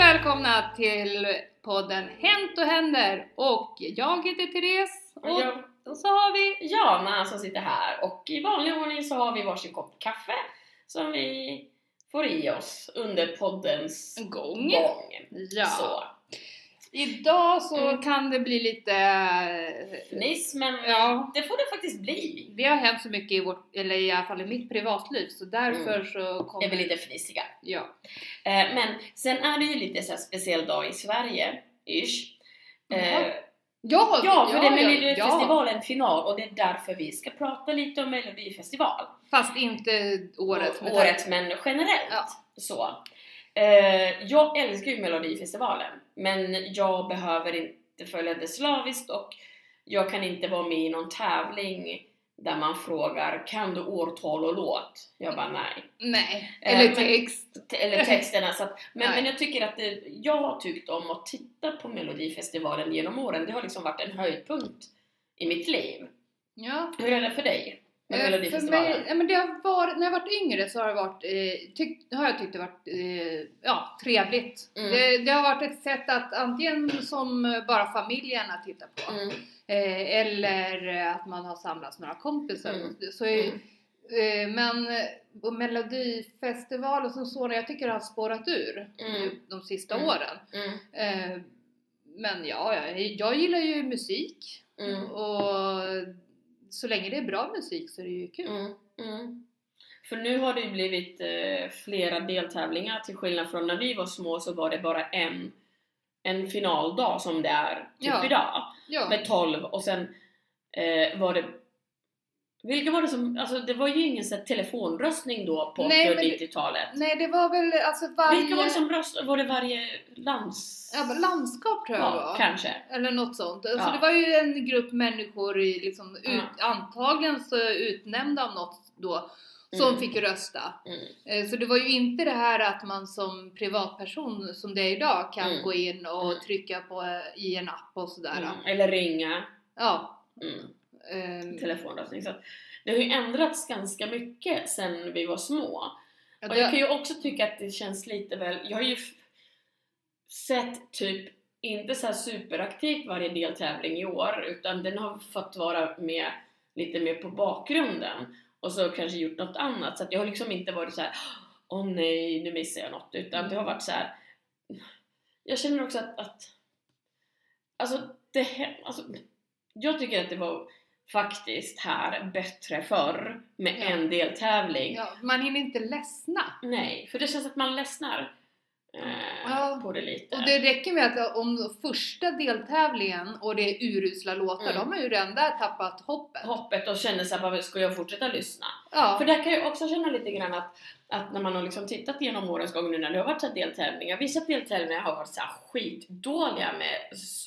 välkomna till podden Hänt och händer och jag heter Therese och, Och jag, och så har vi Jana som sitter här och i vanlig ordning så har vi varsin kopp kaffe som vi får i oss under poddens en gång. gång. Ja. Så. Idag så Mm. kan det bli lite... Fniss, men Ja. det får det faktiskt bli. Det har hänt så mycket i vårt, eller i alla fall i mitt privatliv så därför Mm. så Är kommer... vi lite fnissiga. Ja. Eh, men sen är det ju lite så här speciell dag i Sverige, ish. Eh, Jaha. Ja, ja, för det är ja. Melodifestivalen final och det är därför vi ska prata lite om Melodifestival. Fast inte året. men- året men generellt. Ja. Så. Eh, jag älskar ju Melodifestivalen, men jag behöver inte följa det slaviskt och jag kan inte vara med i någon tävling där man frågar kan du årtal och låt? Jag bara nej. Nej. Eh, Eller men- text. Te- Eller texterna. Så att, men, Nej. men jag tycker att det, jag har tyckt om att titta på Melodifestivalen genom åren. Det har liksom varit en höjdpunkt i mitt liv. Ja. Hur är det för dig? Med Eh, För Melodifestivalen? mig, ja, men det har varit, när jag varit yngre så har, det varit, eh, tyckt, har jag tyckt det varit eh, ja, trevligt. Mm. Det, det har varit ett sätt att antingen som eh, bara familjerna tittar på Mm. eh, eller eh, att man har samlats några kompisar. Mm. Så, är- eh, men eh, och Melodifestivalen som sådan, jag tycker det har spårat ur Mm. de sista Mm. åren. Mm. Eh, men ja, jag, jag gillar ju musik Mm. och så länge det är bra musik så är det ju kul. Mm, mm. För nu har det ju blivit eh, flera deltävlingar till skillnad från när vi var små så var det bara en, en finaldag som det är typ Ja. idag Ja. med 12 och sen eh, var det vilka var det som, alltså det var ju ingen så här telefonröstning då på Nej, 80 och men det- 90-talet. Nej, det var väl alltså varje... Vilka var det som röstade? Var det varje lands... Ja, men landskap tror jag det ja, var. kanske. Eller något sånt. Alltså, Ja. Mm. det var ju en grupp människor, i, liksom, ut, antagligen så utnämnda av något då, som Mm. fick rösta. Mm. Eh, Så det var ju inte det här att man som privatperson, som det är idag, kan Mm. gå in och Mm. trycka på eh, i en app och sådär. Mm. Eller ringa. Ja. Mm. ehm, telefonröstning. Så att det har ju ändrats ganska mycket sen vi var små. ja, Och det- jag kan ju också tycka att det känns lite väl... Jag har ju f- sett typ inte så här superaktivt varje deltävling i år utan den har fått vara med lite mer på bakgrunden och så kanske gjort något annat så att jag har liksom inte varit så här åh nej nu missar jag något utan det har varit så här. jag känner också att, att alltså det hä- alltså, jag tycker att det var faktiskt här bättre förr med Ja. en deltävling ja, man hinner inte ledsna. Nej, för det känns att man ledsnar eh, Ja. på det lite. Och det räcker med att om första deltävlingen och det är urusla låtar, Mm. de har ju redan där tappat hoppet. Hoppet och känner såhär, "Vad- ska jag fortsätta lyssna? Ja. För där kan jag också känna lite grann att, att när man har liksom tittat genom årens gång nu när det har varit så här deltävlingar, vissa deltävlingar har varit så här skitdåliga med,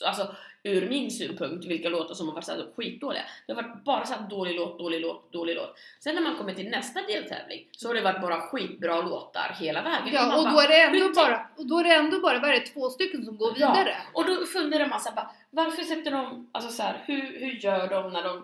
alltså ur min synpunkt, vilka låtar som har varit så här skitdåliga. Det har varit bara så här dålig låt, dålig låt, dålig låt. Sen när man kommer till nästa deltävling så har det varit bara skitbra låtar hela vägen. Och man Ja, och bara, då är det "Hur ändå tänk- bara, och då är det ändå bara, vad är det, två stycken som går Ja. vidare? Och då funderar man såhär bara, varför sätter de, alltså så här, hur, hur gör de när de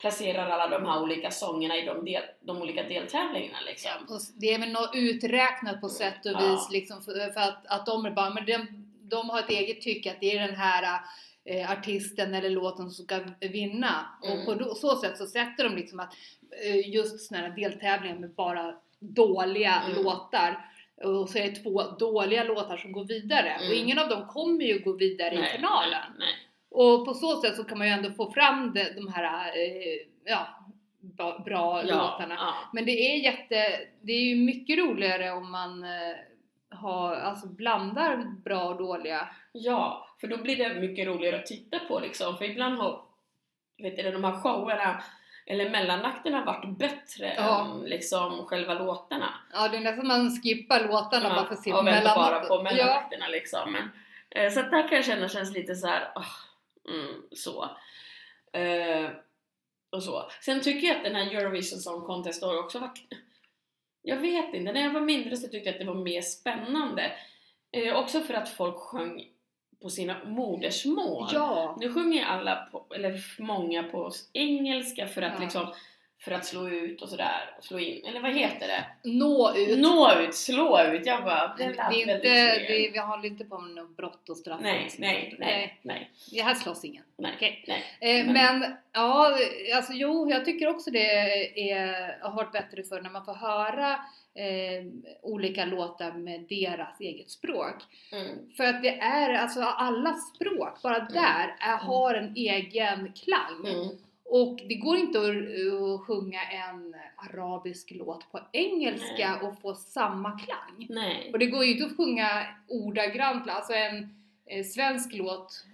placerar alla de här olika sångerna i de, del, de olika deltävlingarna liksom? Och det är väl något uträknat på sätt och Ja. vis liksom, för, för att, att de är bara, men de, de har ett eget tycke att det är den här eh, artisten eller låten som ska vinna. Och Mm. på då- så sätt så sätter de liksom att eh, just sådana här deltävlingar med bara dåliga Mm. låtar och så är det två dåliga låtar som går vidare och Mm. ingen av dem kommer ju gå vidare i finalen. Nej, Och på så sätt så kan man ju ändå få fram de, de här eh, ja, bra, bra nej. Ja, låtarna. ja. Men det är jätte, det är ju mycket roligare om man eh, har, alltså blandar bra och dåliga. ja, för då blir det mycket roligare att titta på liksom, för ibland har vet du, de här showerna eller mellanakterna varit bättre Ja. än liksom själva låtarna. Ja, det är nästan man skippar låtarna bara för att se och väntar bara mellanakten. på Ja, mellanakterna liksom. Men, eh, så att där kan jag känna känns lite så här, åh, mm, så. Eh, och så. Sen tycker jag att den här Eurovision Song Contest har också varit, jag vet inte, när jag var mindre så tyckte jag att det var mer spännande. Eh, också för att folk sjöng på sina modersmål. ja. Nu sjunger alla, på, eller många på engelska för att Ja. liksom för att slå ut och sådär, och slå in, eller vad heter det? Nå ut. Nå ut, slå ut! Jag bara, det det är lät inte, väldigt det, fel. vi håller inte på med något brott och straff. och Nej, sånt nej, där. nej, nej, Det här slåss ingen. nej, Okej. nej. Eh, Men- Men ja, alltså jo, jag tycker också det är, har varit bättre för när man får höra eh, olika låtar med deras eget språk. Mm. För att det är, alltså alla språk, bara där, är, har en egen klang. Mm. Och det går inte att, att sjunga en arabisk låt på engelska och få samma klang. Nej. Och det går ju inte att sjunga ordagrant, alltså en eh, svensk låt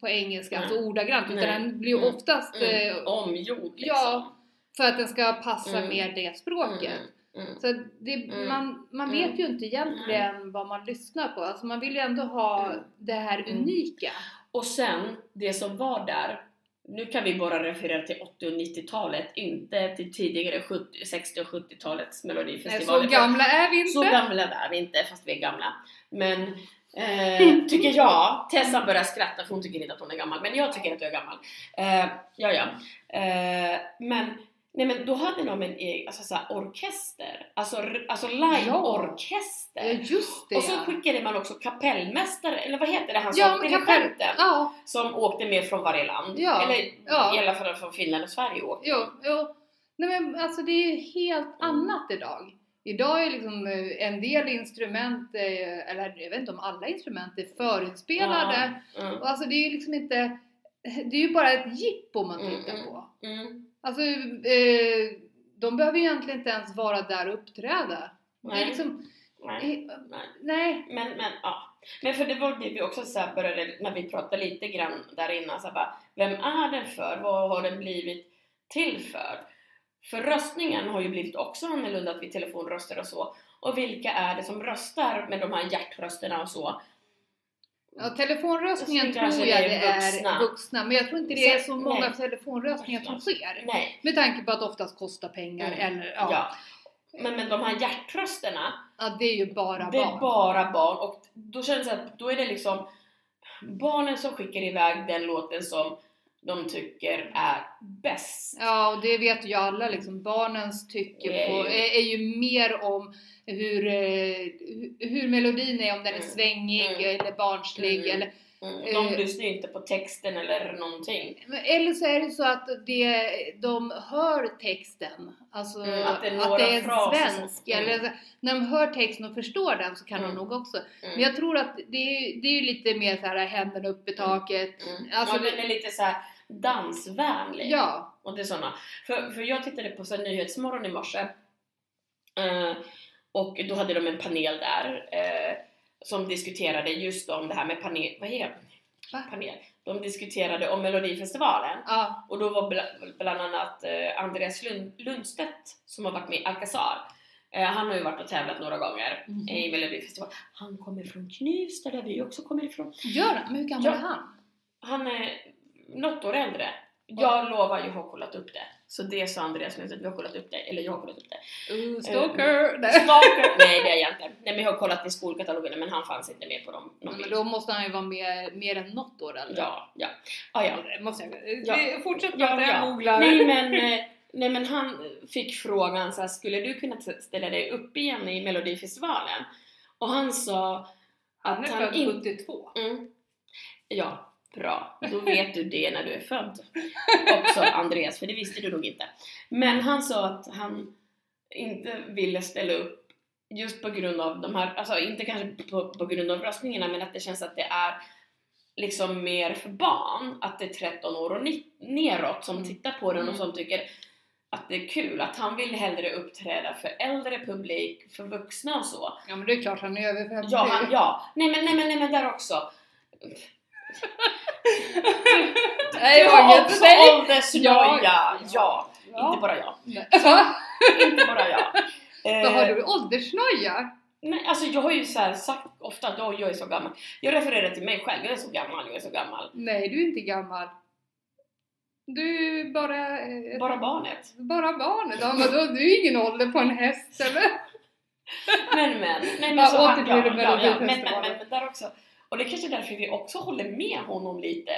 på engelska, Nej. alltså ordagrant, utan Nej. den blir ju Mm. oftast eh, Mm. Omgjord liksom. Ja, för att den ska passa Mm. mer det språket. Mm. Mm. Så att det, Mm. man, man Mm. vet ju inte egentligen vad man lyssnar på, alltså man vill ju ändå ha Mm. det här Mm. unika. Och sen, det som var där, nu kan vi bara referera till 80 och 90-talet, inte till tidigare 70, 60 och 70-talets Nej, melodifestivaler. Eh, så För gamla är vi så inte! gamla är vi inte, fast vi är gamla. Men eh, tycker jag, Tessa börjar skratta för hon tycker inte att hon är gammal, men jag tycker att jag är gammal. Eh, ja, ja. Eh, men, nej, men då hade de en egen alltså, så här, orkester, alltså, r- alltså live-orkester. Ja, just det Och så alltså, ja. skickade man också kapellmästare, eller vad heter det, han Ja, som men dirigenten, Ja, som åkte med från varje land. Ja, Eller ja. i alla fall från Finland och Sverige åkte. jo, jo. Nej men alltså det är ju helt Mm. annat idag. Idag är liksom eh, en del instrument, eh, eller jag vet inte om alla instrument är förinspelade. Ja, mm, Och Alltså det är ju liksom inte, det är ju bara ett jippo man Mm, tittar mm. på. mm, Alltså, eh, de behöver ju egentligen inte ens vara där och uppträda. Det är nej, liksom, nej, eh, nej. nej. Men, men, ja. men för det var det vi också så här började, när vi pratade lite grann där innan, så här bara, vem är den för? Vad har den blivit till för? För röstningen har ju blivit också annorlunda, att vi telefonröstar och så. Och vilka är det som röstar med de här hjärtrösterna och så? Ja, telefonröstningen Jag tror tror kanske jag det det är är vuxna. vuxna, men jag tror inte det är Så- så många nej. telefonröstningar som sker. Nej, Med tanke på att det oftast kostar pengar Mm. eller ja, ja. Ja. Men, men de här hjärtrösterterna, det är ju bara det är barn. bara barn och då känns det att då är det liksom barnen som skickar iväg den låten som de tycker är bäst. Ja, och det vet ju alla liksom. Barnens tycke Det är på, ju- är, är ju mer om hur, eh, hu- hur melodin är, om den är Mm. svängig Mm. eller barnslig Mm. eller Mm, Eh. De lyssnar ju inte på texten eller någonting. Men Eller så är det så att det, de hör texten, alltså Mm, att att det det är är, några fraser som- svensk. Mm. Eller, så- när de hör texten och förstår den så kan de Mm. nog också. Mm. Men jag tror att det är, det är ju lite mer så här händerna upp i taket. Mm. alltså ja, det- den är lite så här dansvänlig. Ja, Och det är såna. För, för jag tittade på så här Nyhetsmorgon i morse eh, och då hade de en panel där eh, som diskuterade just om det här med panel... Vad heter Va? det? Panel. De diskuterade om Melodifestivalen ja, och då var bla- bland annat eh, Andreas Lund, Lundstedt som har varit med i Alcazar. Eh, han har ju varit och tävlat några gånger Mhm. eh, i Melodifestivalen. Han kommer från Knivsta där vi också kommer ifrån. gör han? Men hur gammal Ja. är han? Han är något år äldre. Jag lovar, jag har kollat upp det. Så det sa Andreas Lundstedt, vi har kollat upp det. Eller jag har kollat upp det. Uh, Mm. stalker! Nej. Stalker? Nej det är jag inte. Nej men jag har kollat i skolkatalogerna men han fanns inte med på dem. Någon Men bild. då måste han ju vara med mer än något år eller? Ja, ja. Ah, ja. Måste jag, Ja. Det- Fortsätt Ja, prata, jag ja. googlar. Nej men, eh, nej men han fick frågan så här, skulle du kunna t- ställa dig upp igen i melodifestivalen? Och han sa han att är han född inte... 72. Mm. Ja, bra. Då vet du det när du är född. Också Andreas, för det visste du nog inte. Men han sa att han inte ville ställa upp just på grund av de här, alltså inte kanske på, på grund av röstningarna men att det känns att det är liksom mer för barn, att det är 13 år och ni- neråt som Mm. tittar på den Mm. och som tycker att det är kul, att han vill hellre uppträda för äldre publik, för vuxna och så. Ja men det är klart han är över 50. Ja, han, ja. Nej men, nej men, nej men där också. Nej, Du jag har vet också inte. åldersnoja. Ja. Ja. ja, Ja. inte bara jag. Va? Inte bara jag. Vad har Eh, du åldersnoja? nej, alltså jag har ju så här sagt ofta att "Åh, jag är så gammal. Jag refererar till mig själv, jag är så gammal, jag är så gammal. Nej, du är inte gammal. Du är bara... eh, Bara barnet. Bara barnet. Ja, vadå? Du är ingen ålder på en häst eller? Men men, nej, Ja, men, så han, åter ja, blir det ja, ja, men, men, Melodifestivalen. men, men där också. Och det är kanske är därför vi också håller med honom lite.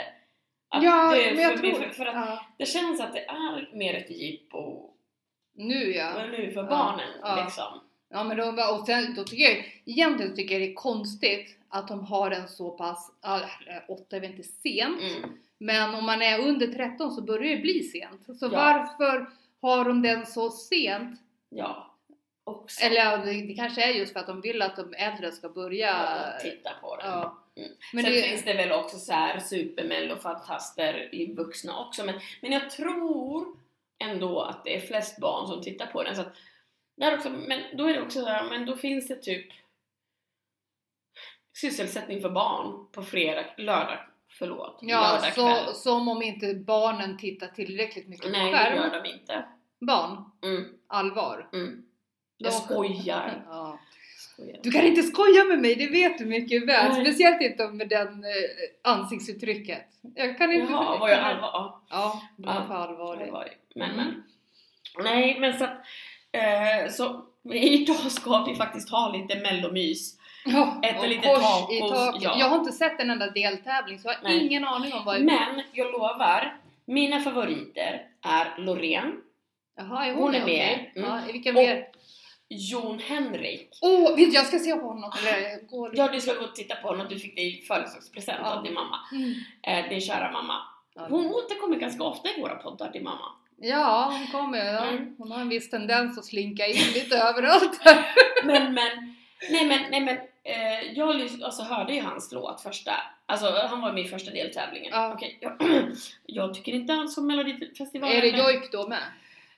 Att Ja, det, men jag för, vi- tror- För, för att Ja. det känns att det är mer ett jippo Nu ja. Men nu för Ja. barnen Ja. liksom. Ja men då, och sen, då tycker jag egentligen tycker jag det är konstigt att de har en så pass, ja, åtta är väl inte sent, Mm. men om man är under 13 så börjar det bli sent. Så Ja. varför har de den så sent? Ja. Också. Eller ja, det, det kanske är just för att de vill att de äldre ska börja... Ja, titta på den. Ja. Mm. Men Sen det, finns det väl också så här supermellofantaster i vuxna också. Men, men jag tror ändå att det är flest barn som tittar på den. Så att, där också, men då är det också så här, men då finns det typ sysselsättning för barn på fredag, lördag, förlåt, ja, lördag så, som om inte barnen tittar tillräckligt mycket Nej, på det skärm. gör de inte. Barn, Mm, allvar. mm. De- Jag skojar. Ja. skojar. Du kan inte skoja med mig, det vet du mycket väl. Nej. Speciellt inte med den eh, ansiktsuttrycket. Jag kan inte... Jaha, var jag allvar? Ja. Ja, du var Ja, för allvarlig. det var det. Men, Mm. men. Nej, men så att, eh, så idag ska vi faktiskt ha lite mellomys. Ja, Äta och lite kors tacos, i taket. ja. Jag har inte sett en enda deltävling så jag har Nej. ingen aning om vad... Men jag lovar, mina favoriter är Loreen, Jaha, är hon, hon är okej. med. Mm. Ja, vilka Och- mer? Jon Henrik. Åh, vet du, jag ska se på honom. Eller, gå Ja, du ska gå och titta på honom, du fick det i födelsedagspresent Ja. av din mamma. Mm. Eh, din kära mamma. Ja, Hon återkommer ganska ofta i våra poddar, din mamma. Ja, hon kommer. Ja. Mm. Hon har en viss tendens att slinka in lite överallt. Men, men, nej men, nej men. Eh, jag lys- alltså, hörde ju hans låt första, alltså han var med i första deltävlingen. Ja. Okej, jag, jag tycker inte han som Melodifestivalen. Är det men- Jojk då med?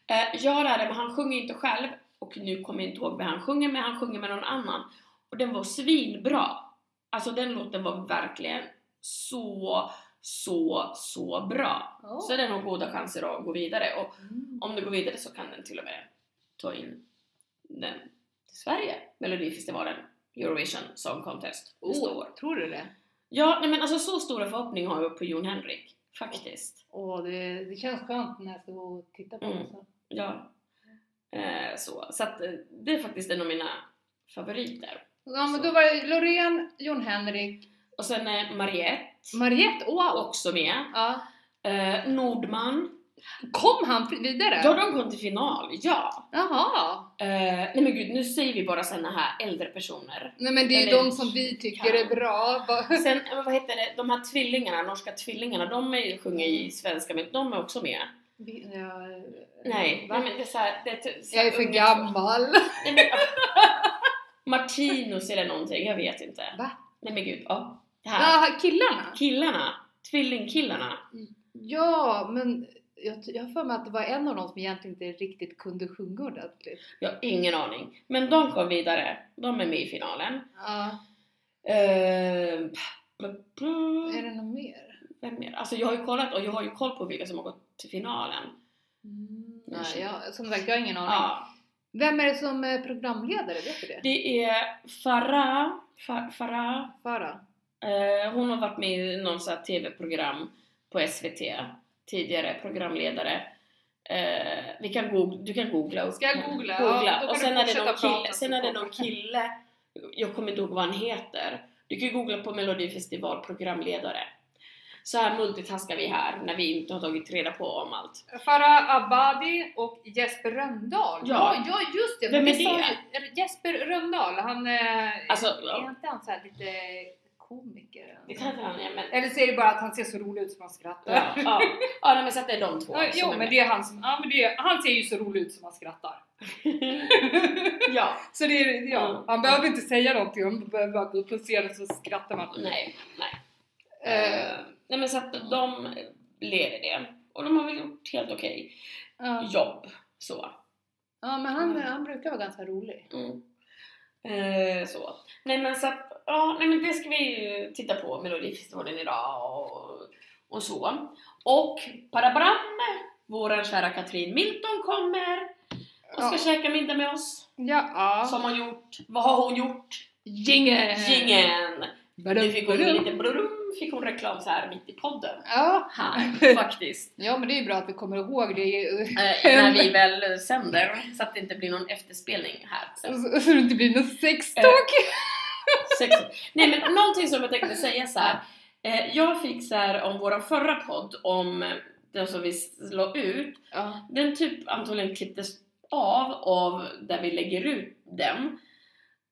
Eh, ja det är det, men han sjunger inte själv. Och nu kommer jag inte ihåg vad han sjunger med, han sjunger med någon annan. Och den var svinbra. Alltså den låten var verkligen så, så, så bra. Ja. Så den har goda chanser att gå vidare. Och Mm. om det går vidare så kan den till och med ta in den till Sverige, Melodifestivalen, Eurovision Song Contest nästa Åh, år. tror du det? Ja, nej men alltså så stora förhoppningar har jag på Jon Henrik, faktiskt. Åh, det, det känns skönt när jag ska gå och titta på Mm. honom. sen. Ja. Eh, så så att, eh, det är faktiskt en av mina favoriter. Ja, men Så. då var det Loreen, Jon Henrik, Och sen är Mariette Mariette. Wow! också med. Ja. Eh, Nordman. Kom han vidare? Ja, de kom till final, ja! Jaha! Eh, nej men gud, nu säger vi bara såna här äldre personer. Nej men det är ju Eller- de som vi tycker är bra. Bara- Sen, eh, vad heter det, de här tvillingarna, norska tvillingarna, de är ju sjunger Mm. i svenska men de är också med. Vi- ja, Nej, va? nej men det är så här, det är typ, så här Mm. Jag är för unga- gammal. Nej, men, ah. Martinus eller någonting, jag vet inte. Va? Ah! Nej men gud, ja. Det här. Ja, killarna? Killarna, tvillingkillarna. Ja, men jag, jag har för mig att det var en av dem som egentligen inte riktigt kunde sjunga ordentligt. Jag har ingen aning. Men de kom vidare, de är med i finalen. Ja, Ehm, p- p- är det något mer? Vem mer? Alltså jag har ju kollat och jag har ju koll på vilka som har gått till finalen. Mm, Jag nej, känner- jag, som sagt, jag har ingen aning. Ja, Vem är det som är programledare? Vet du det? Det är Farah, Fa- Farah Farah? eh, hon har varit med i någon sån här TV-program på SVT, tidigare programledare. Eh, vi kan googla, du kan googla. upp- Ska jag googla? googla. Ja, då kan Och du sen är, det fortsätta någon prata kille, så sen är det får- någon kille, jag kommer inte ihåg vad han heter. Du kan ju googla på Melodifestival programledare. Så här multitaskar vi här när vi inte har tagit reda på om allt. Farah Abadi och Jesper Rönndahl. Ja. ja, ja, just det. Vem för är sa det? ju- Jesper Rönndahl, han eh, Alltså, är ja, inte han så här lite komiker? det kanske han är men... Eller så är det bara att han ser så rolig ut som han skrattar. Ja, ja. ja nej, men så att det är de två Ja, som jo, är med. men det är han som, ja, men det är, han ser ju så rolig ut som han skrattar. ja, så det är, ja, Mm. han behöver inte säga någonting, han behöver bara gå upp på scenen så skrattar man. nej. Mm. Eh, Eh, nej men så att de leder det. Och de har väl gjort helt okej ja. jobb. Så. ja, men han, han brukar vara ganska rolig. Mm. Eh, så. Nej men så att, ja, nej men det ska vi ju titta på Melodifestivalen idag och, och så. Och parabram! Våran kära Katrin Milton kommer och ska Ja. käka middag med oss. Ja, Eh. Som har gjort, vad har hon gjort? Jingeln! Jingeln! Nu fick hon Badum, lite badum. brum, fick hon reklam så här mitt i podden. Ja. Här, faktiskt. ja, men det är bra att vi kommer ihåg det Eh, när vi väl sänder, så att det inte blir någon efterspelning här. sen. så, så det inte blir något sextalk. Sex. Nej men någonting som jag tänkte säga så här. Eh, jag fick så här om våran förra podd, om den som vi la ut, Ja. den typ antagligen klipptes av av där vi lägger ut den.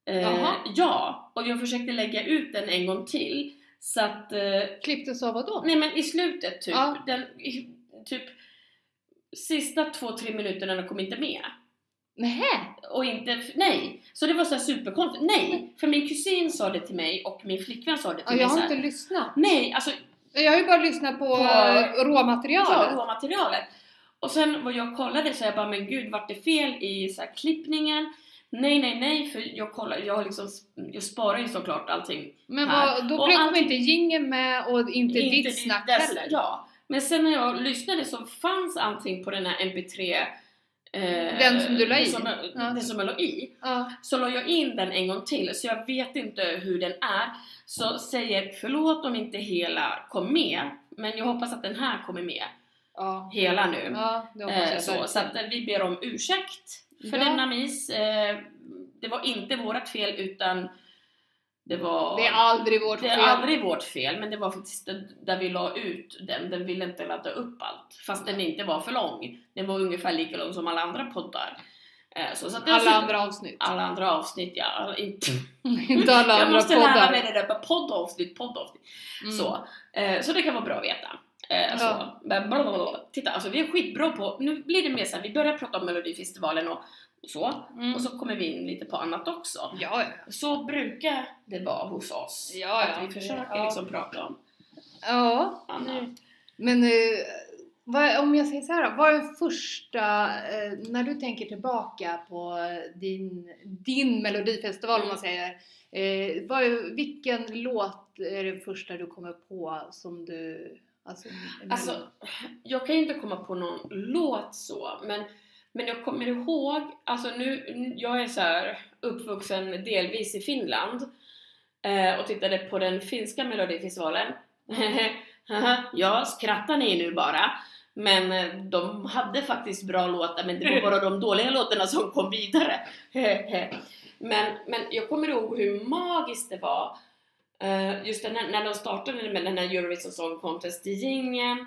Eh, Jaha. ja, och jag försökte lägga ut den en gång till. Så att, eh, Klipptes av vadå? nej men i slutet typ, Ja. den, i, typ sista två, tre minuterna kom inte med. Nähä! Och inte, nej! Så det var så här superkonstigt. Nej! För min kusin sa det till mig och min flickvän sa det Ja, till jag mig har så här, inte lyssnat. Nej, alltså Jag har ju bara lyssnat på, På- eh, ja, råmaterialet. råmaterialet. Och sen vad jag kollade så jag bara, men gud vart det fel i så här, klippningen? Nej, nej, nej, för jag kollar, jag har liksom, jag sparar ju såklart allting. Men här. vad, då Och kom allting- inte jingeln med och inte, det- ditt snack dess- heller. Ja, men sen när jag lyssnade så fanns allting på den här mp3 eh, Den som du la i? Den som, Ja. den som jag la i. Ja. Så la jag in den en gång till, så jag vet inte hur den är. Så säger förlåt om inte hela kom med, men jag hoppas att den här kommer med Ja. hela nu. Ja, det hoppas eh, jag så så verkligen. att eh, vi ber om ursäkt för Ja. denna miss. Eh, det var inte vårt fel utan det var... Det är aldrig vårt det fel. är aldrig vårt fel, men det var faktiskt det- där vi la ut den. Den ville inte ladda upp allt, fast den inte var för lång. Den var ungefär lika lång som alla andra poddar. Eh, Så, så att det har Alla suttit- andra avsnitt. alla andra avsnitt, ja. Alla- Inte, inte alla jag andra måste lära poddar. mig det där med poddavsnitt, poddavsnitt. Mm. Så, eh, så det kan vara bra att veta. Eh, Ja. så. Men blablabla. Titta, alltså vi är skitbra på, nu blir det mer såhär, vi börjar prata om Melodifestivalen och så, Mm. och så kommer vi in lite på annat också. Ja, ja. Så brukar det vara hos oss, Ja, att ja. vi försöker Ja. liksom prata om ja. annat. Men eh, vad, om jag säger så här då, vad är den första, eh, när du tänker tillbaka på din, din melodifestival Mm. om man säger, eh, vad är, vilken låt är den första du kommer på som du, alltså, Alltså, jag kan ju inte komma på någon låt så, men, men jag kommer ihåg, alltså nu, jag är så här uppvuxen delvis i Finland eh, och tittade på den finska melodifestivalen. ja, skrattar ni nu bara? Men eh, de hade faktiskt bra låtar, men det var bara de dåliga låtarna som kom vidare. men, men jag kommer ihåg hur magiskt det var eh, just när, när de startade med den här Eurovision Song Contest-jingeln.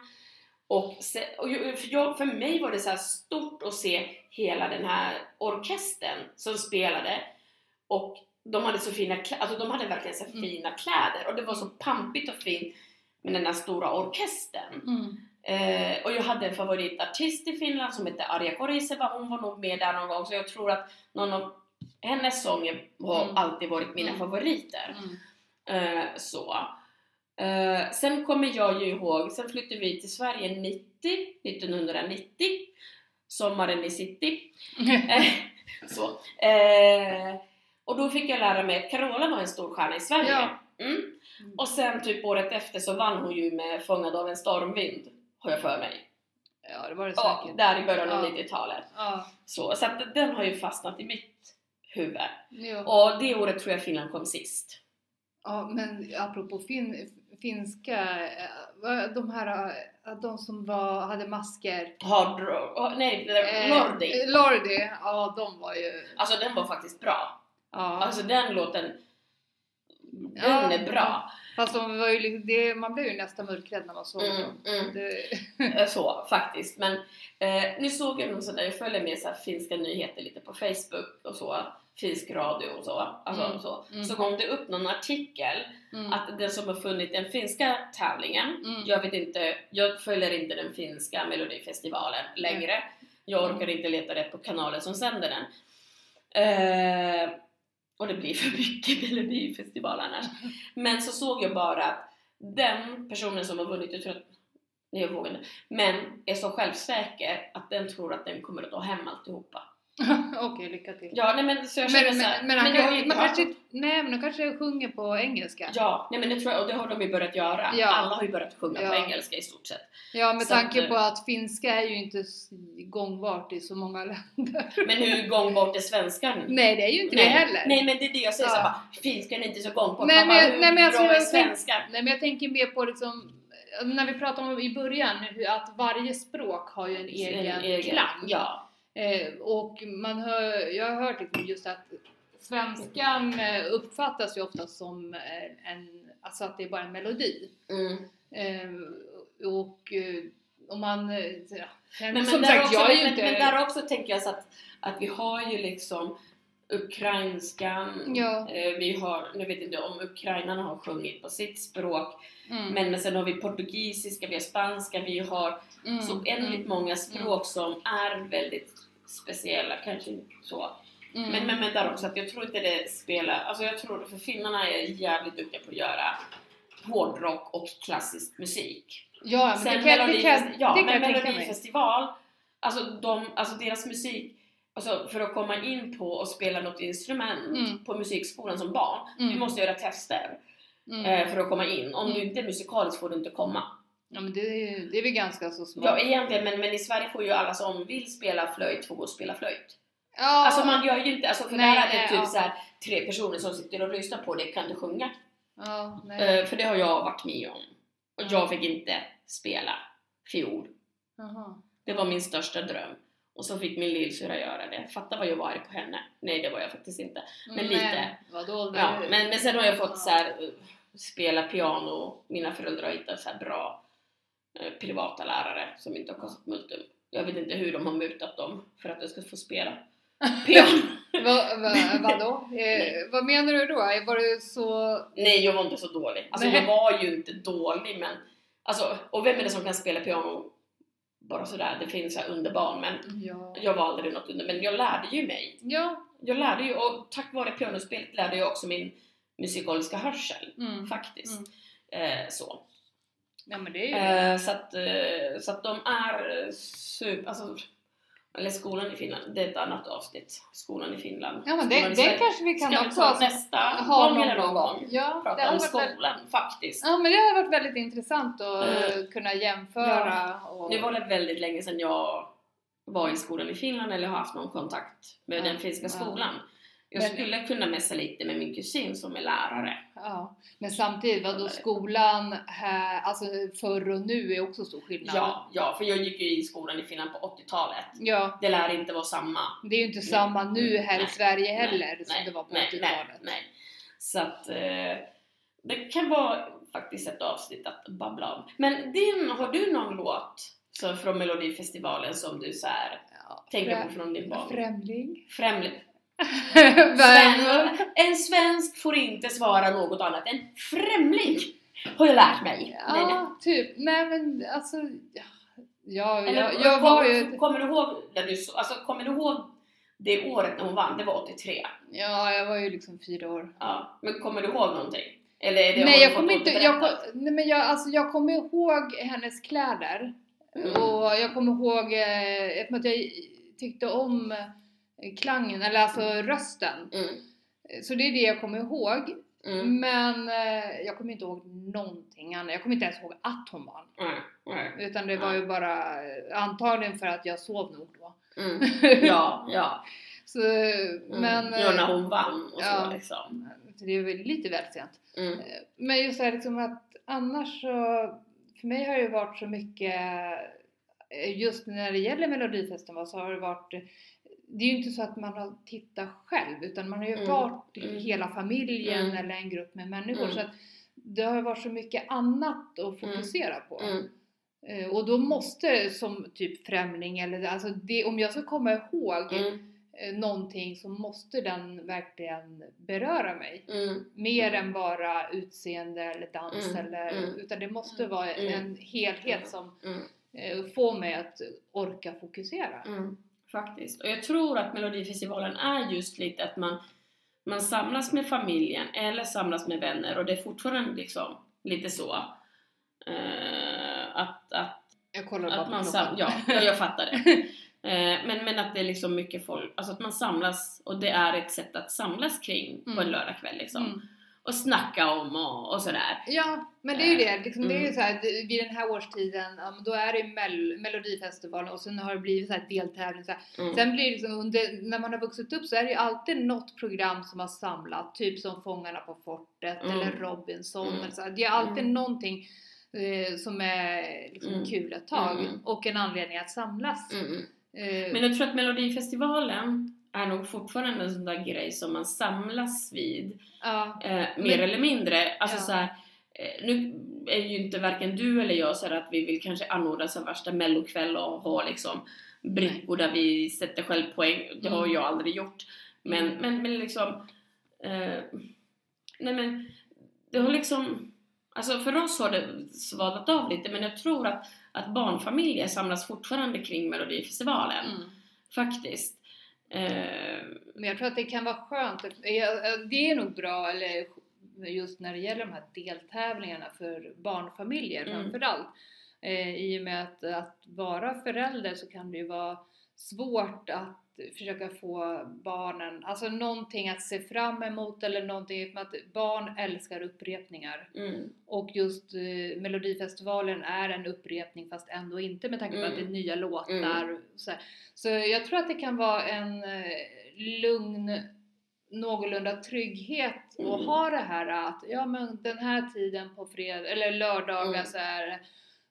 Och, se- och jag, för, jag, för mig var det så här stort att se hela den här orkestern som spelade och de hade så fina kläder, alltså de hade verkligen så här Mm. fina kläder och det var så pampigt och fint med den här stora orkestern. mm. Eh, och jag hade en favoritartist i Finland som hette Arja Koriseva, hon var nog med där någon gång så jag tror att någon av hennes sånger har Mm. alltid varit mina Mm. favoriter. Mm. Eh, så. Eh, sen kommer jag ju ihåg, sen flyttade vi till Sverige 90, 1990, sommaren i city. Eh, så. Eh, och då fick jag lära mig att Carola var en stor stjärna i Sverige. Ja. Mm. Och sen typ året efter så vann hon ju med Fångad av en stormvind, har jag för mig. ja, det var det Ja, säkert. där i början av Ja. 90-talet. Ja, Så, så att den har ju fastnat i mitt huvud. ja. Och det året tror jag Finland kom sist. Ja, men apropå fin, finska, eh, vad- de här, eh, de som var, hade masker. Hard Rock, oh, nej, det där- Eh, Lordi. eh, Lordi, ja de var ju... Alltså den var faktiskt bra. Ja, Alltså den låten, den Ja. är bra. Fast de var ju, liksom- det, man blev ju nästan mörkrädd när man såg Mm, dem. mm. Det, Eh, Så faktiskt. Men eh, nu såg jag någon sån där, jag följer med så här, finska nyheter lite på Facebook och så. Finsk radio och så. Alltså, Mm, så. mm. så kom det upp någon artikel mm, att den som har funnit den finska tävlingen, Mm. jag vet inte, jag följer inte den finska melodifestivalen Mm. längre. Jag orkar inte leta rätt på kanalen som sänder den. Eh, och det blir för mycket melodifestival annars. Men så såg jag bara att den personen som har vunnit, jag tror att nej, jag vågar inte, men är så självsäker att den tror att den kommer att ta hem alltihopa. Okej, lycka till. Ja, nej men så Mm. jag känner men, så här, men, men, han jag har kanske, ju inte man hört kanske, nej, men de kanske sjunger på engelska. Ja, Ja, nej men det tror jag, och det har de ju börjat göra. Ja. Alla har ju börjat sjunga på Ja. engelska i stort sett. med så att- eh, tanke på att finska är ju inte s- gångbart i så många länder. Men hur gångbart är svenskan? Nej, det är ju inte nej. det heller. Nej men det är det jag säger, Ja. så bara, finskan är inte så gångbart. Nej, Nej, men- hur nej, men jag bra tror är jag tänk- svenskan? Nej men jag tänker mer på liksom eh, när vi pratade om i början hur att varje språk har ju en egen, En egen- klang. Ja. Eh, och man hör, jag har hört liksom just att svenskan eh, uppfattas ju ofta som eh, en, alltså att det är bara en melodi. Mm. Eh, och eh, om man... eh, Ja, men, Men, som men, sagt, där också, jag är ju men, inte... men där också tänker jag så att, att vi har ju liksom ukrainskan, Ja. eh, vi har, nu vet jag inte om ukrainarna har sjungit på sitt språk, Mm. men, men sen har vi portugisiska, vi har spanska, vi har Mm. så oändligt många språk som är väldigt speciella, kanske inte så. Mm. Men, men, men där också att jag tror inte det spelar, alltså jag tror, för finnarna är jävligt duktiga på att göra hårdrock och klassisk musik. Ja, men Sen det kan, det kan, Melodifest- ja, det kan men jag tänka mig. Melodifestival, alltså, de, alltså deras musik, alltså för att komma in på och spela något instrument Mm. på musikskolan som barn, Mm. du måste göra tester Mm. eh, för att komma in. Om du inte är musikalisk får du inte komma. Ja, men det, är ju- det är väl ganska så smart. Ja, egentligen, men, men i Sverige får ju alla som vill spela flöjt få gå och spela flöjt. Ja, Alltså man gör ju inte, alltså för Nej, där är det nej, typ ja. så här, tre personer som sitter och lyssnar på det, kan du sjunga? ja, nej. Eh, för det har jag varit med om. Och jag fick inte spela fiol. Jaha. Det var min största dröm. Och så fick min lillsyrra göra det. Fatta vad jag var arg på henne. Nej, det var jag faktiskt inte. men lite. Mm, Vadå? Det, Ja, men, men sen har jag fått så här, eh, spela piano. Mina föräldrar har hittat så här bra eh, privata lärare som inte har kostat multum. Jag vet inte hur de har mutat dem för att jag ska få spela piano. Vad, vad, vadå? Eh, vad menar du då? Var det så... Nej, jag var inte så dålig. Alltså, Nej. jag var ju inte dålig, men... Alltså, och vem är det som kan spela piano bara sådär? Det finns så här underbarn, men Ja. jag var aldrig något under. Men jag lärde ju mig. Ja. jag lärde ju, och tack vare pianospelet lärde jag också min musikaliska hörsel Mm. faktiskt. Eh, så Ja, men det är ju... eh, så, att, eh, så att de är super, alltså, eller skolan i Finland, det är ett annat avsnitt. Skolan i Finland. Ja, men Skolan det, i det Sverige. kanske vi kan Ska vi också ta nästa ha gång eller någon gång? Ja, det Prata hade om varit väldigt, skolan faktiskt. ja, men det har varit väldigt intressant att Mm. eh, kunna jämföra. Och, Nu var det väldigt länge sedan jag var i skolan i Finland eller har haft någon kontakt med Ja, den finska ja. skolan. Jag Men- skulle kunna messa lite med min kusin som är lärare. ja. Men samtidigt, vadå skolan här, alltså förr och nu är också stor skillnad. Ja, ja, för jag gick ju i skolan i Finland på 80-talet. Ja, Det lär inte vara samma. det är ju inte samma nu här i Mm. Nej, Sverige heller nej, som nej, det var på nej, 80-talet. Nej, nej. Så att eh, det kan vara faktiskt ett avsnitt att babbla om. Men din, har du någon låt så från Melodifestivalen som du så här, Ja, tänker på frä- från din barn? Främling. Främling. Värmland. Sven- En svensk får inte svara något annat än främling! Har jag lärt mig. Nej, nej. Ja, typ. Nej men alltså... Ja, ja Eller, jag, jag var ju... Kommer du ihåg när du, så- alltså, kommer du ihåg det året när hon vann? Det var 83. Ja, jag var ju liksom fyra år. Ja, men kommer du ihåg någonting? Eller är det har Nej du jag fått kommer inte... Jag, återberättat? kom- nej, men jag, alltså, jag kommer ihåg hennes kläder. Mm. Och jag kommer ihåg... Eh, eftersom att jag tyckte om eh, klangen, eller alltså rösten. Mm, Så det är det jag kommer ihåg. mm, Men eh, jag kommer inte ihåg någonting annat. Jag kommer inte ens ihåg att hon vann. nej, nej, Utan det var ju bara eh, antagligen för att jag sov nog då. mm. Ja, ja. Så, eh, Mm. men... ja, eh, när hon vann och ja. Eh, så liksom. Så det är väl lite väl sent. Mm, Men just det här liksom att annars så, för mig har det ju varit så mycket, eh, just när det gäller Melodifestivalen så har det varit, det är ju inte så att man har tittat själv utan man har ju Mm, varit mm. hela familjen Mm. eller en grupp med människor Mm. så att det har ju varit så mycket annat att fokusera på. mm, Eh, Och då måste som typ främling eller alltså det, om jag ska komma ihåg mm, eh, någonting så måste den verkligen beröra mig mm, mer Mm. än bara utseende eller dans Mm, eller mm. utan det måste vara Mm. en helhet Mm. som mm, eh, får mig att orka fokusera. mm. Faktiskt. Och jag tror att Melodifestivalen är just lite att man, man samlas med familjen eller samlas med vänner och det är fortfarande liksom lite så. eh, att, att Jag kollar bara Att på man sam- klockan. ja, ja, jag fattar det. Eh, Men, men att det är liksom mycket folk, alltså att man samlas och det är ett sätt att samlas kring på en Mm. lördagkväll liksom. Mm. Och snacka om och, och sådär. Ja, men det är ju det. Liksom, Det är ju Mm. så här, det- vid den här årstiden, ja, men då är det mel- Melodifestivalen och sen har det blivit så här deltävling. Så här. Mm. Sen blir det liksom under, när man har vuxit upp så är det ju alltid något program som har samlat, typ som Fångarna på fortet Mm. eller Robinson. Mm. Eller så. här. Det är alltid Mm. någonting eh, som är liksom Mm. kul ett tag Mm. och en anledning att samlas. Mm. Eh, Men jag tror att Melodifestivalen är nog fortfarande en sån där grej som man samlas vid ja. eh, mer Men- eller mindre. Alltså Ja. så här, eh, nu är ju inte varken du eller jag så här att vi vill kanske anordna så här värsta mellokväll och ha liksom brickor där vi sätter självpoäng. Det har Mm. jag aldrig gjort. Men, Mm. men, men liksom... Eh, nej men, det har liksom... Alltså för oss har det svaldat av lite men jag tror att, att barnfamiljer samlas fortfarande kring Melodifestivalen. Mm. Faktiskt. Eh, Men jag tror att det kan vara skönt. att- ja, ja, Det är nog bra, eller just när det gäller de här deltävlingarna för barnfamiljer Mm. framförallt. Eh, I och med att, att vara förälder så kan det ju vara svårt att försöka få barnen, alltså någonting att se fram emot eller någonting, för att barn älskar upprepningar. mm, Och just eh, Melodifestivalen är en upprepning fast ändå inte med tanke på Mm. att det är nya låtar. Så, här. så jag tror att det kan vara en eh, lugn, någorlunda trygghet att Mm. ha det här att ja men den här tiden på fredag eller lördagar Mm. så här.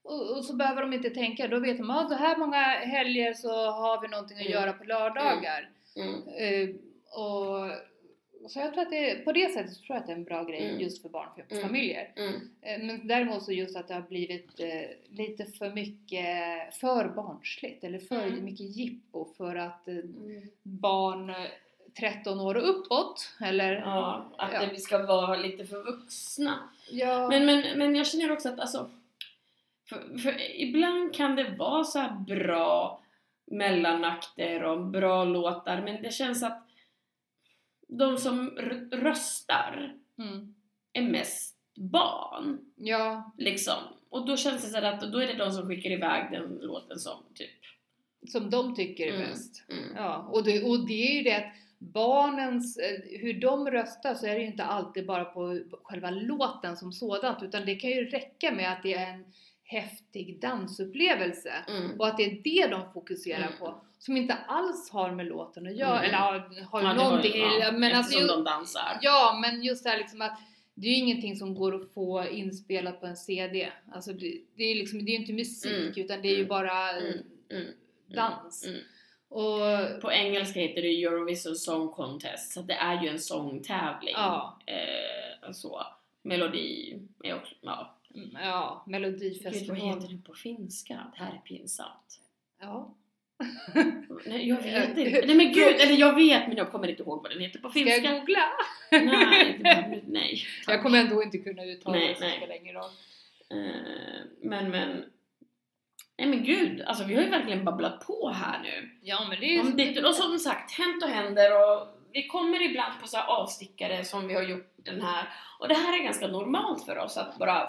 Och, och så behöver de inte tänka, då vet de att ah, så här många helger så har vi någonting att Mm. göra på lördagar. mm. Eh, och, så jag tror att det, på det sättet tror jag att det är en bra grej Mm. just för barnfamiljer. Mm. Eh, Men däremot så just att det har blivit eh, lite för mycket för barnsligt eller för Mm. mycket jippo för att eh, barn eh, 13 år och uppåt eller Ja, att Ja. det- vi ska vara lite för vuxna. ja, Men, men, men jag känner också att alltså, för, för ibland kan det vara så här bra mellanakter och bra låtar men det känns att de som r- röstar mm, är mest barn. ja, Liksom. Och då känns det så här att då är det de som skickar iväg den låten som typ... som de tycker är Mm. bäst. Mm. Ja, och, det, och det är ju det att barnens, eh, hur de röstar så är det ju inte alltid bara på själva låten som sådant utan det kan ju räcka med att det är en häftig dansupplevelse. Mm. Och att det är det de fokuserar Mm. på. Som inte alls har med låten att göra. Mm. Eller ja, har Ja, det var någonting. ju- ja, men alltså, eftersom ju, de dansar. Ja, men just det här liksom att det är ju ingenting som går att få inspelat på en CD. Alltså det, det är ju liksom, det är ju inte musik utan det är ju Mm. bara Mm. Mm. dans. Mm. Och På engelska heter det Eurovision Song Contest, så att det är ju en sångtävling. ja, Eh, så. Melodi är också, ja. mm, ja Gud, vad Melodifestivalen. heter det på finska? Det här är pinsamt. Ja. Nej, Eh, jag vet inte. Nej men gud, eller jag vet men jag kommer inte ihåg vad den heter på Ska jag finska. googla? Nej, det behöver du- nej. Jag kommer ändå inte kunna uttala Nej, det så nej. spelar ingen roll. Eh, men men. Nej men gud, alltså vi har ju verkligen babblat på här nu. Ja, men det är ju... Om ditt, och som sagt, hänt och händer och vi kommer ibland på så här avstickare som vi har gjort den här. Och det här är ganska normalt för oss att bara...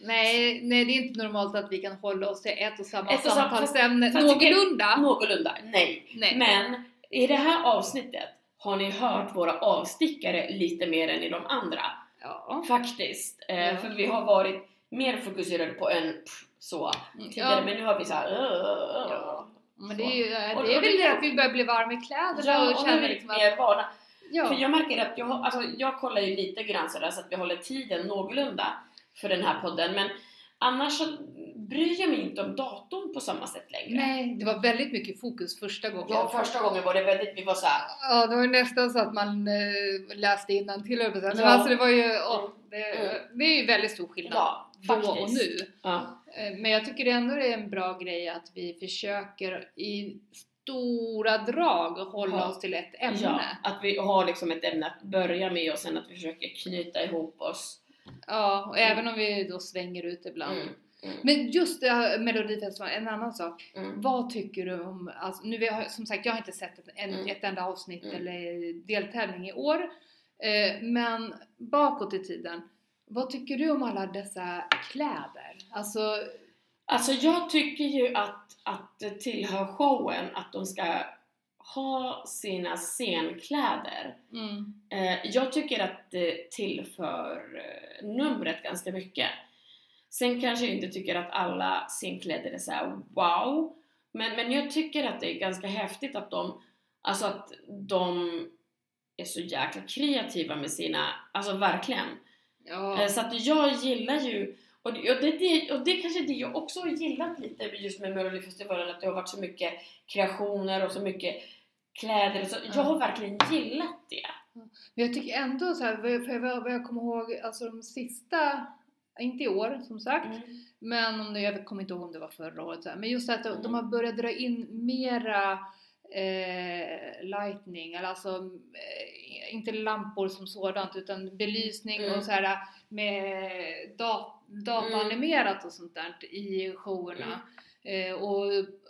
Nej, nej, det är inte normalt att vi kan hålla oss till ett och samma Ett och samma- samtalsämne. fast- fast- Någorlunda. Någorlunda, nej. Nej. Men i det här avsnittet har ni hört våra avstickare lite mer än i de andra. Ja. Faktiskt. Eh, Ja. För vi har varit mer fokuserade på en pff, så tidigare, Mm, Ja. men nu har vi så här. Ja. Men det Så. är, ju, Och- det är och väl det- det att vi börjar bli varma i kläderna Ja, och och nu är känner vi liksom att... mer vana. För Ja. jag märker att jag, har- alltså, jag kollar ju lite grann sådär så att vi håller tiden någorlunda för den här podden. Men annars så bryr jag mig inte om datorn på samma sätt längre. Nej, det var väldigt mycket fokus första gången. Ja, första gången var det väldigt, vi var såhär, Ja, det var ju nästan så att man eh, läste innantill höll jag på att säga. Men Ja. alltså det var ju... åh, det, Mm. det är ju väldigt stor skillnad ja, då faktiskt. och nu. Ja. Eh, Men jag tycker ändå det är en bra grej att vi försöker i stora drag hålla Ja. oss till ett ja, ämne. att vi har liksom ett ämne att börja med och sen att vi försöker knyta ihop oss. Ja, och Mm. även om vi då svänger ut ibland. Mm, mm, Men just det här Melodifestivalen, en annan sak. mm, Vad tycker du om, alltså, nu har, som sagt jag har inte sett ett, en, Mm. ett enda avsnitt Mm. eller deltävling i år. Eh, men bakåt i tiden, vad tycker du om alla dessa kläder? Alltså, Alltså jag tycker ju att, att det tillhör showen att de ska ha sina scenkläder. mm, Eh, jag tycker att det tillför eh, numret ganska mycket. Sen kanske jag inte tycker att alla scenkläder är så här wow. Men, men jag tycker att det är ganska häftigt att de, alltså att de är så jäkla kreativa med sina, alltså verkligen. ja. Eh, Så att jag gillar ju, och det, och det- det, och det kanske är det jag också har gillat lite just med Melodifestivalen, att det har varit så mycket kreationer och så mycket kläder. och Så jag har verkligen gillat det. Men jag tycker ändå så här, vad jag- för jag- vad jag kommer ihåg, alltså de sista inte i år som sagt, Mm. men om det, jag kommer inte ihåg om det var förra året. så här. Men just att de- Mm. de har börjat dra in mera eh, lightning, eller alltså eh, inte lampor som sådant utan belysning Mm. och så här med dat- dataanimerat och sånt där i showerna. Mm. Eh, och,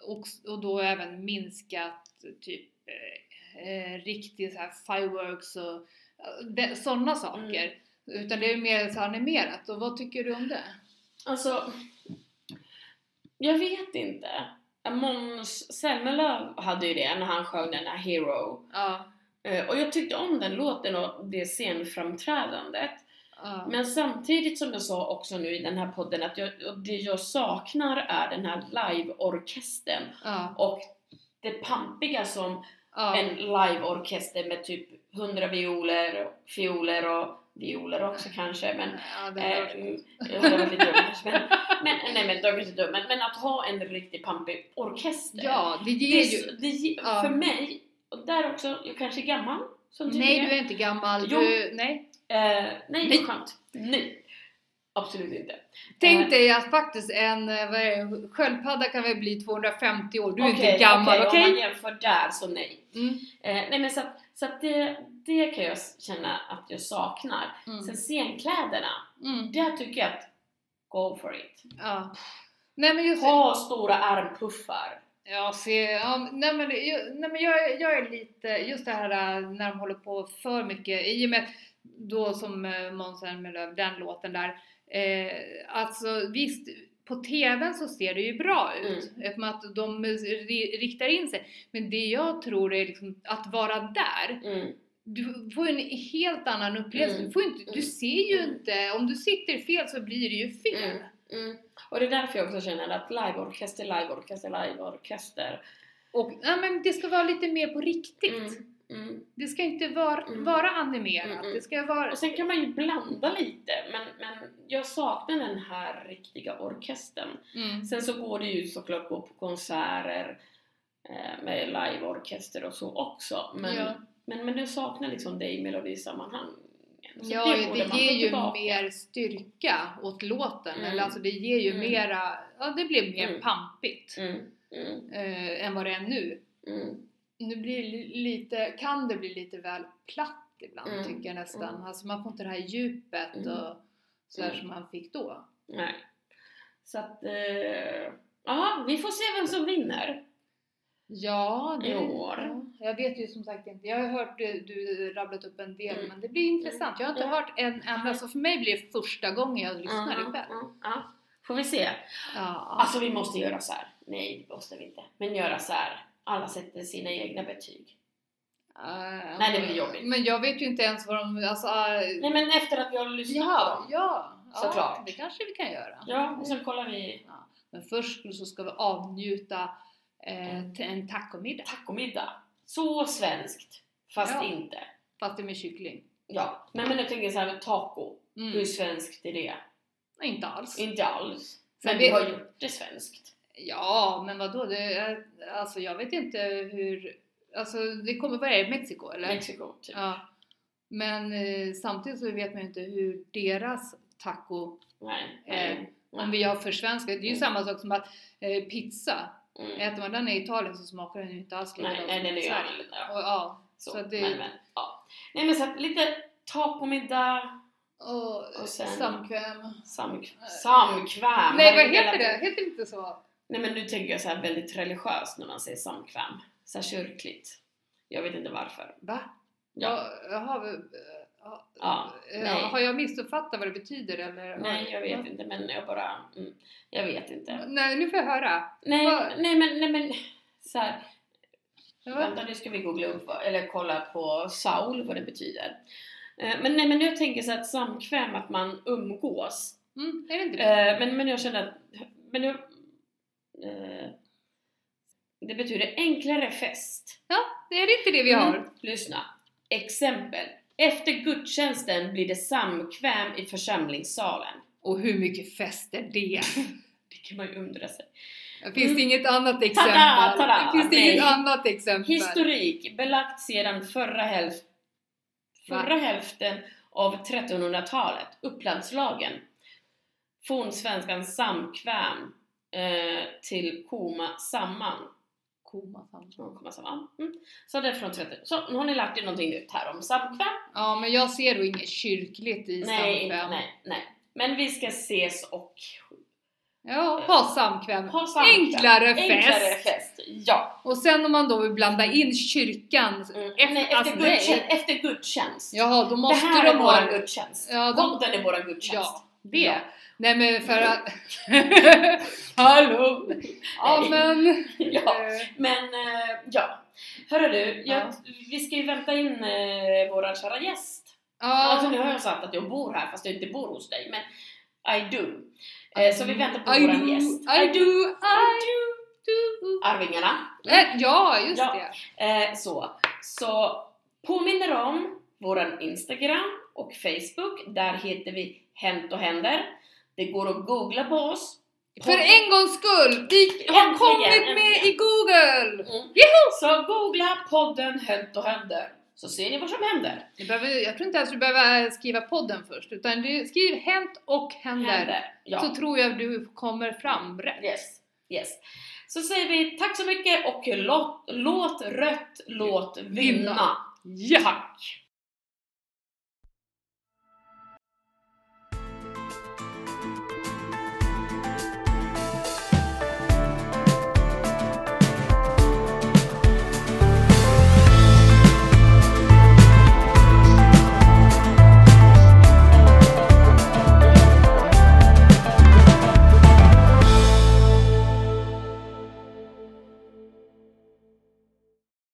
och, och då även minskat typ eh, eh, riktig så här fireworks och sådana saker. Mm. Utan det är mer så animerat. Och vad tycker du om det? Alltså, jag vet inte. Måns Zelmerlöw hade ju det när han sjöng den här Hero. Ja. Eh, Och jag tyckte om den låten och det scenframträdandet. ja. Men samtidigt som jag sa också nu i den här podden att jag, och det jag saknar är den här liveorkestern ja. och det pampiga som ja. en liveorkester med typ 100 violer, fioler och violer också kanske men ja, det Eh, hade varit- mm, jag hade varit lite dum kanske, men, men, nej men, det var kanske dum, men, men att ha en riktigt pampig orkester. ja, det det, ger är ju... så- det, ge- ja. För mig, och där också, jag kanske är gammal som Nej, är. du är inte gammal. Jo. Du, nej. Eh, nej, Nej. vad skönt. Nej, absolut inte. Eh. Tänk dig att faktiskt en eh, vad är det, sköldpadda kan väl bli 250 år. Du är Okej, inte gammal, okej, okej? Om man jämför där så nej. Mm, Eh, nej men så att, så att det, det kan jag känna att jag saknar. Sen mm, scenkläderna, mm, där tycker jag att go for it. ja. Nej men just... Ha stora armpuffar. Ja, se, ja, nej men, ju- nej, men jag, jag är lite, just det här äh, när de håller på för mycket, i och med då som äh, Måns Zelmerlöw, den låten där, eh, alltså visst, på TVn så ser det ju bra ut, Mm. eftersom att de eh, ri- riktar in sig, men det jag tror är liksom att vara där, Mm. du får ju en helt annan upplevelse, Mm. du, får ju inte, du Mm. ser ju Mm. inte, om du sitter fel så blir det ju fel. Mm. Mm. Och det är därför jag också känner att liveorkester, liveorkester, liveorkester. Och ja, men det ska vara lite mer på riktigt. Mm. Mm. Det ska inte vara, Mm. vara animerat. Mm, mm. Det ska vara... Och sen kan man ju blanda lite, men, men jag saknar den här riktiga orkestern. Mm. Sen så går det ju såklart gå på konserter eh, med liveorkester och så också, men, Ja. men, men jag saknar liksom det i melodisammanhangen. Så Ja, det, borde man ger ta ju tillbaka. mer styrka åt låten. Mm. Eller alltså det ger ju Mm. mera... Ja, det blir mer Mm. pampigt Mm. Mm. eh, än vad det är nu. Mm. Nu blir det li- lite, kan det bli lite väl platt ibland Mm. tycker jag nästan. Mm. Alltså man får inte det här djupet Mm. och sådär Mm. som man fick då. Nej. Så att... Eh, ja, vi får se vem som vinner. Ja, det, I år. ja, jag vet ju som sagt inte. Jag har hört eh, du rabblat upp en del Mm. men det blir intressant. Jag har inte Ja. hört en enda så för mig blir det första gången jag lyssnar Ja, ikväll. ja, ja. Får vi se. Ja. Alltså vi måste göra så här. Nej, det måste vi inte. Men göra så här. Alla sätter sina egna betyg. Eh, Nej, det blir jobbigt. Men jag vet ju inte ens vad de... Alltså, eh, Nej men efter att vi har lyssnat på ja, dem. ja, ja, Såklart. det kanske vi kan göra. Ja, och sen kollar vi Ja. Men först så ska vi avnjuta eh, t- en tacomiddag, tacomiddag. Så svenskt. Fast Ja. inte. fast det är med kyckling. Ja. Men, men jag tänker så här taco. Mm. Hur svenskt är det? Nej, Inte alls. Inte alls. Sen Men vi vet- har gjort det svenskt. Ja, men vadå? Det, är- alltså jag vet inte hur... Alltså det kommer vara i Mexiko eller? Mexiko typ. Ja. Men eh, samtidigt så vet man ju inte hur deras taco, Nej. Eh, nej. om vi har försvenskat, det är ju Mm. samma sak som att eh, pizza, Mm. äter man den i Italien så smakar den ju inte alls Nej, nej, nej, i det gör Sverige. man inte. Ja. Och, ja, Så, Så det- men, men, ja. Nej men så att lite tacomiddag. och, Och sen- samkväm. Samk samkväm! nej, vad Herregud, heter alla- det? Heter det inte så? Nej men nu tänker jag så här väldigt religiöst när man säger samkväm. Så här kyrkligt. Jag vet inte varför. Va? Ja. Ja, jaha, eh, ja, Ja, eh, nej. har jag missuppfattat vad det betyder eller? Nej, jag vet inte men jag bara... Mm, jag vet inte. Nej, nu får jag höra. Nej, Vad- nej men, nej men... Så här, Ja. vänta nu ska vi googla upp vad- eller kolla på Saul vad det betyder. Eh, Men nej men jag tänker så här att samkväm, att man umgås. Mm, är det inte det? Eh, men, men jag känner att... Men jag, eh, det betyder enklare fest. Det är det inte det vi har? Mm. Lyssna. Exempel. Efter gudstjänsten blir det samkväm i församlingssalen. Och hur mycket fest är det? Det kan man ju undra sig. Finns det inget annat exempel? Mm. Tada, tada, Finns det inget nej. annat exempel? Historik belagt sedan förra, hälf- Va? förra hälften av 1300-talet. Upplandslagen. fornsvenskan samkväm eh, till koma samman. Koma samman. Ja, Komma samman. Mm. Så, det är från tvätten. så nu har ni lärt er någonting nytt här om samkväm. Ja, men jag ser då inget kyrkligt i Nej, inte, samkväm. nej, nej. Men vi ska ses och Ja, ha samkväm. ha samkväm. Enklare fest. Enklare fest. Ja. Och sen om man då vill blanda in kyrkan. Mm. Efter- nej, efter, alltså, nej. gudstjänst, efter gudstjänst. Jaha, då det måste här de är ha... våran gudstjänst. Ja, de- Podden är våran gudstjänst. Ja, det. Ja. Nej men för att... Hallå! Ja Nej. men... Ja. eh, Men eh, ja, hörru du, jag, Ja. vi ska ju vänta in eh, våran kära gäst. Alltså nu Ja, har jag sagt att jag bor här fast jag inte bor hos dig, men I do. Eh, så vi väntar på Mm. I våran do, gäst. I do, I do. do. Arvingarna. Eh, Ja, just Ja. det. Eh, så. så påminner om våran Instagram och Facebook. Där heter vi Hänt och Händer. Det går att googla på oss. För en gångs skull! Vi har Äntligen, kommit med i äntligen. Google! Så googla podden Hänt och Händer. Så ser ni vad som händer. Du behöver, jag tror inte ens du behöver eh, skriva podden först, utan du skriv hänt och händer. Ja. Så tror jag du kommer fram rätt. Yes, yes. Så säger vi tack så mycket och låt, låt rött, låt vinna. Ja! Tack!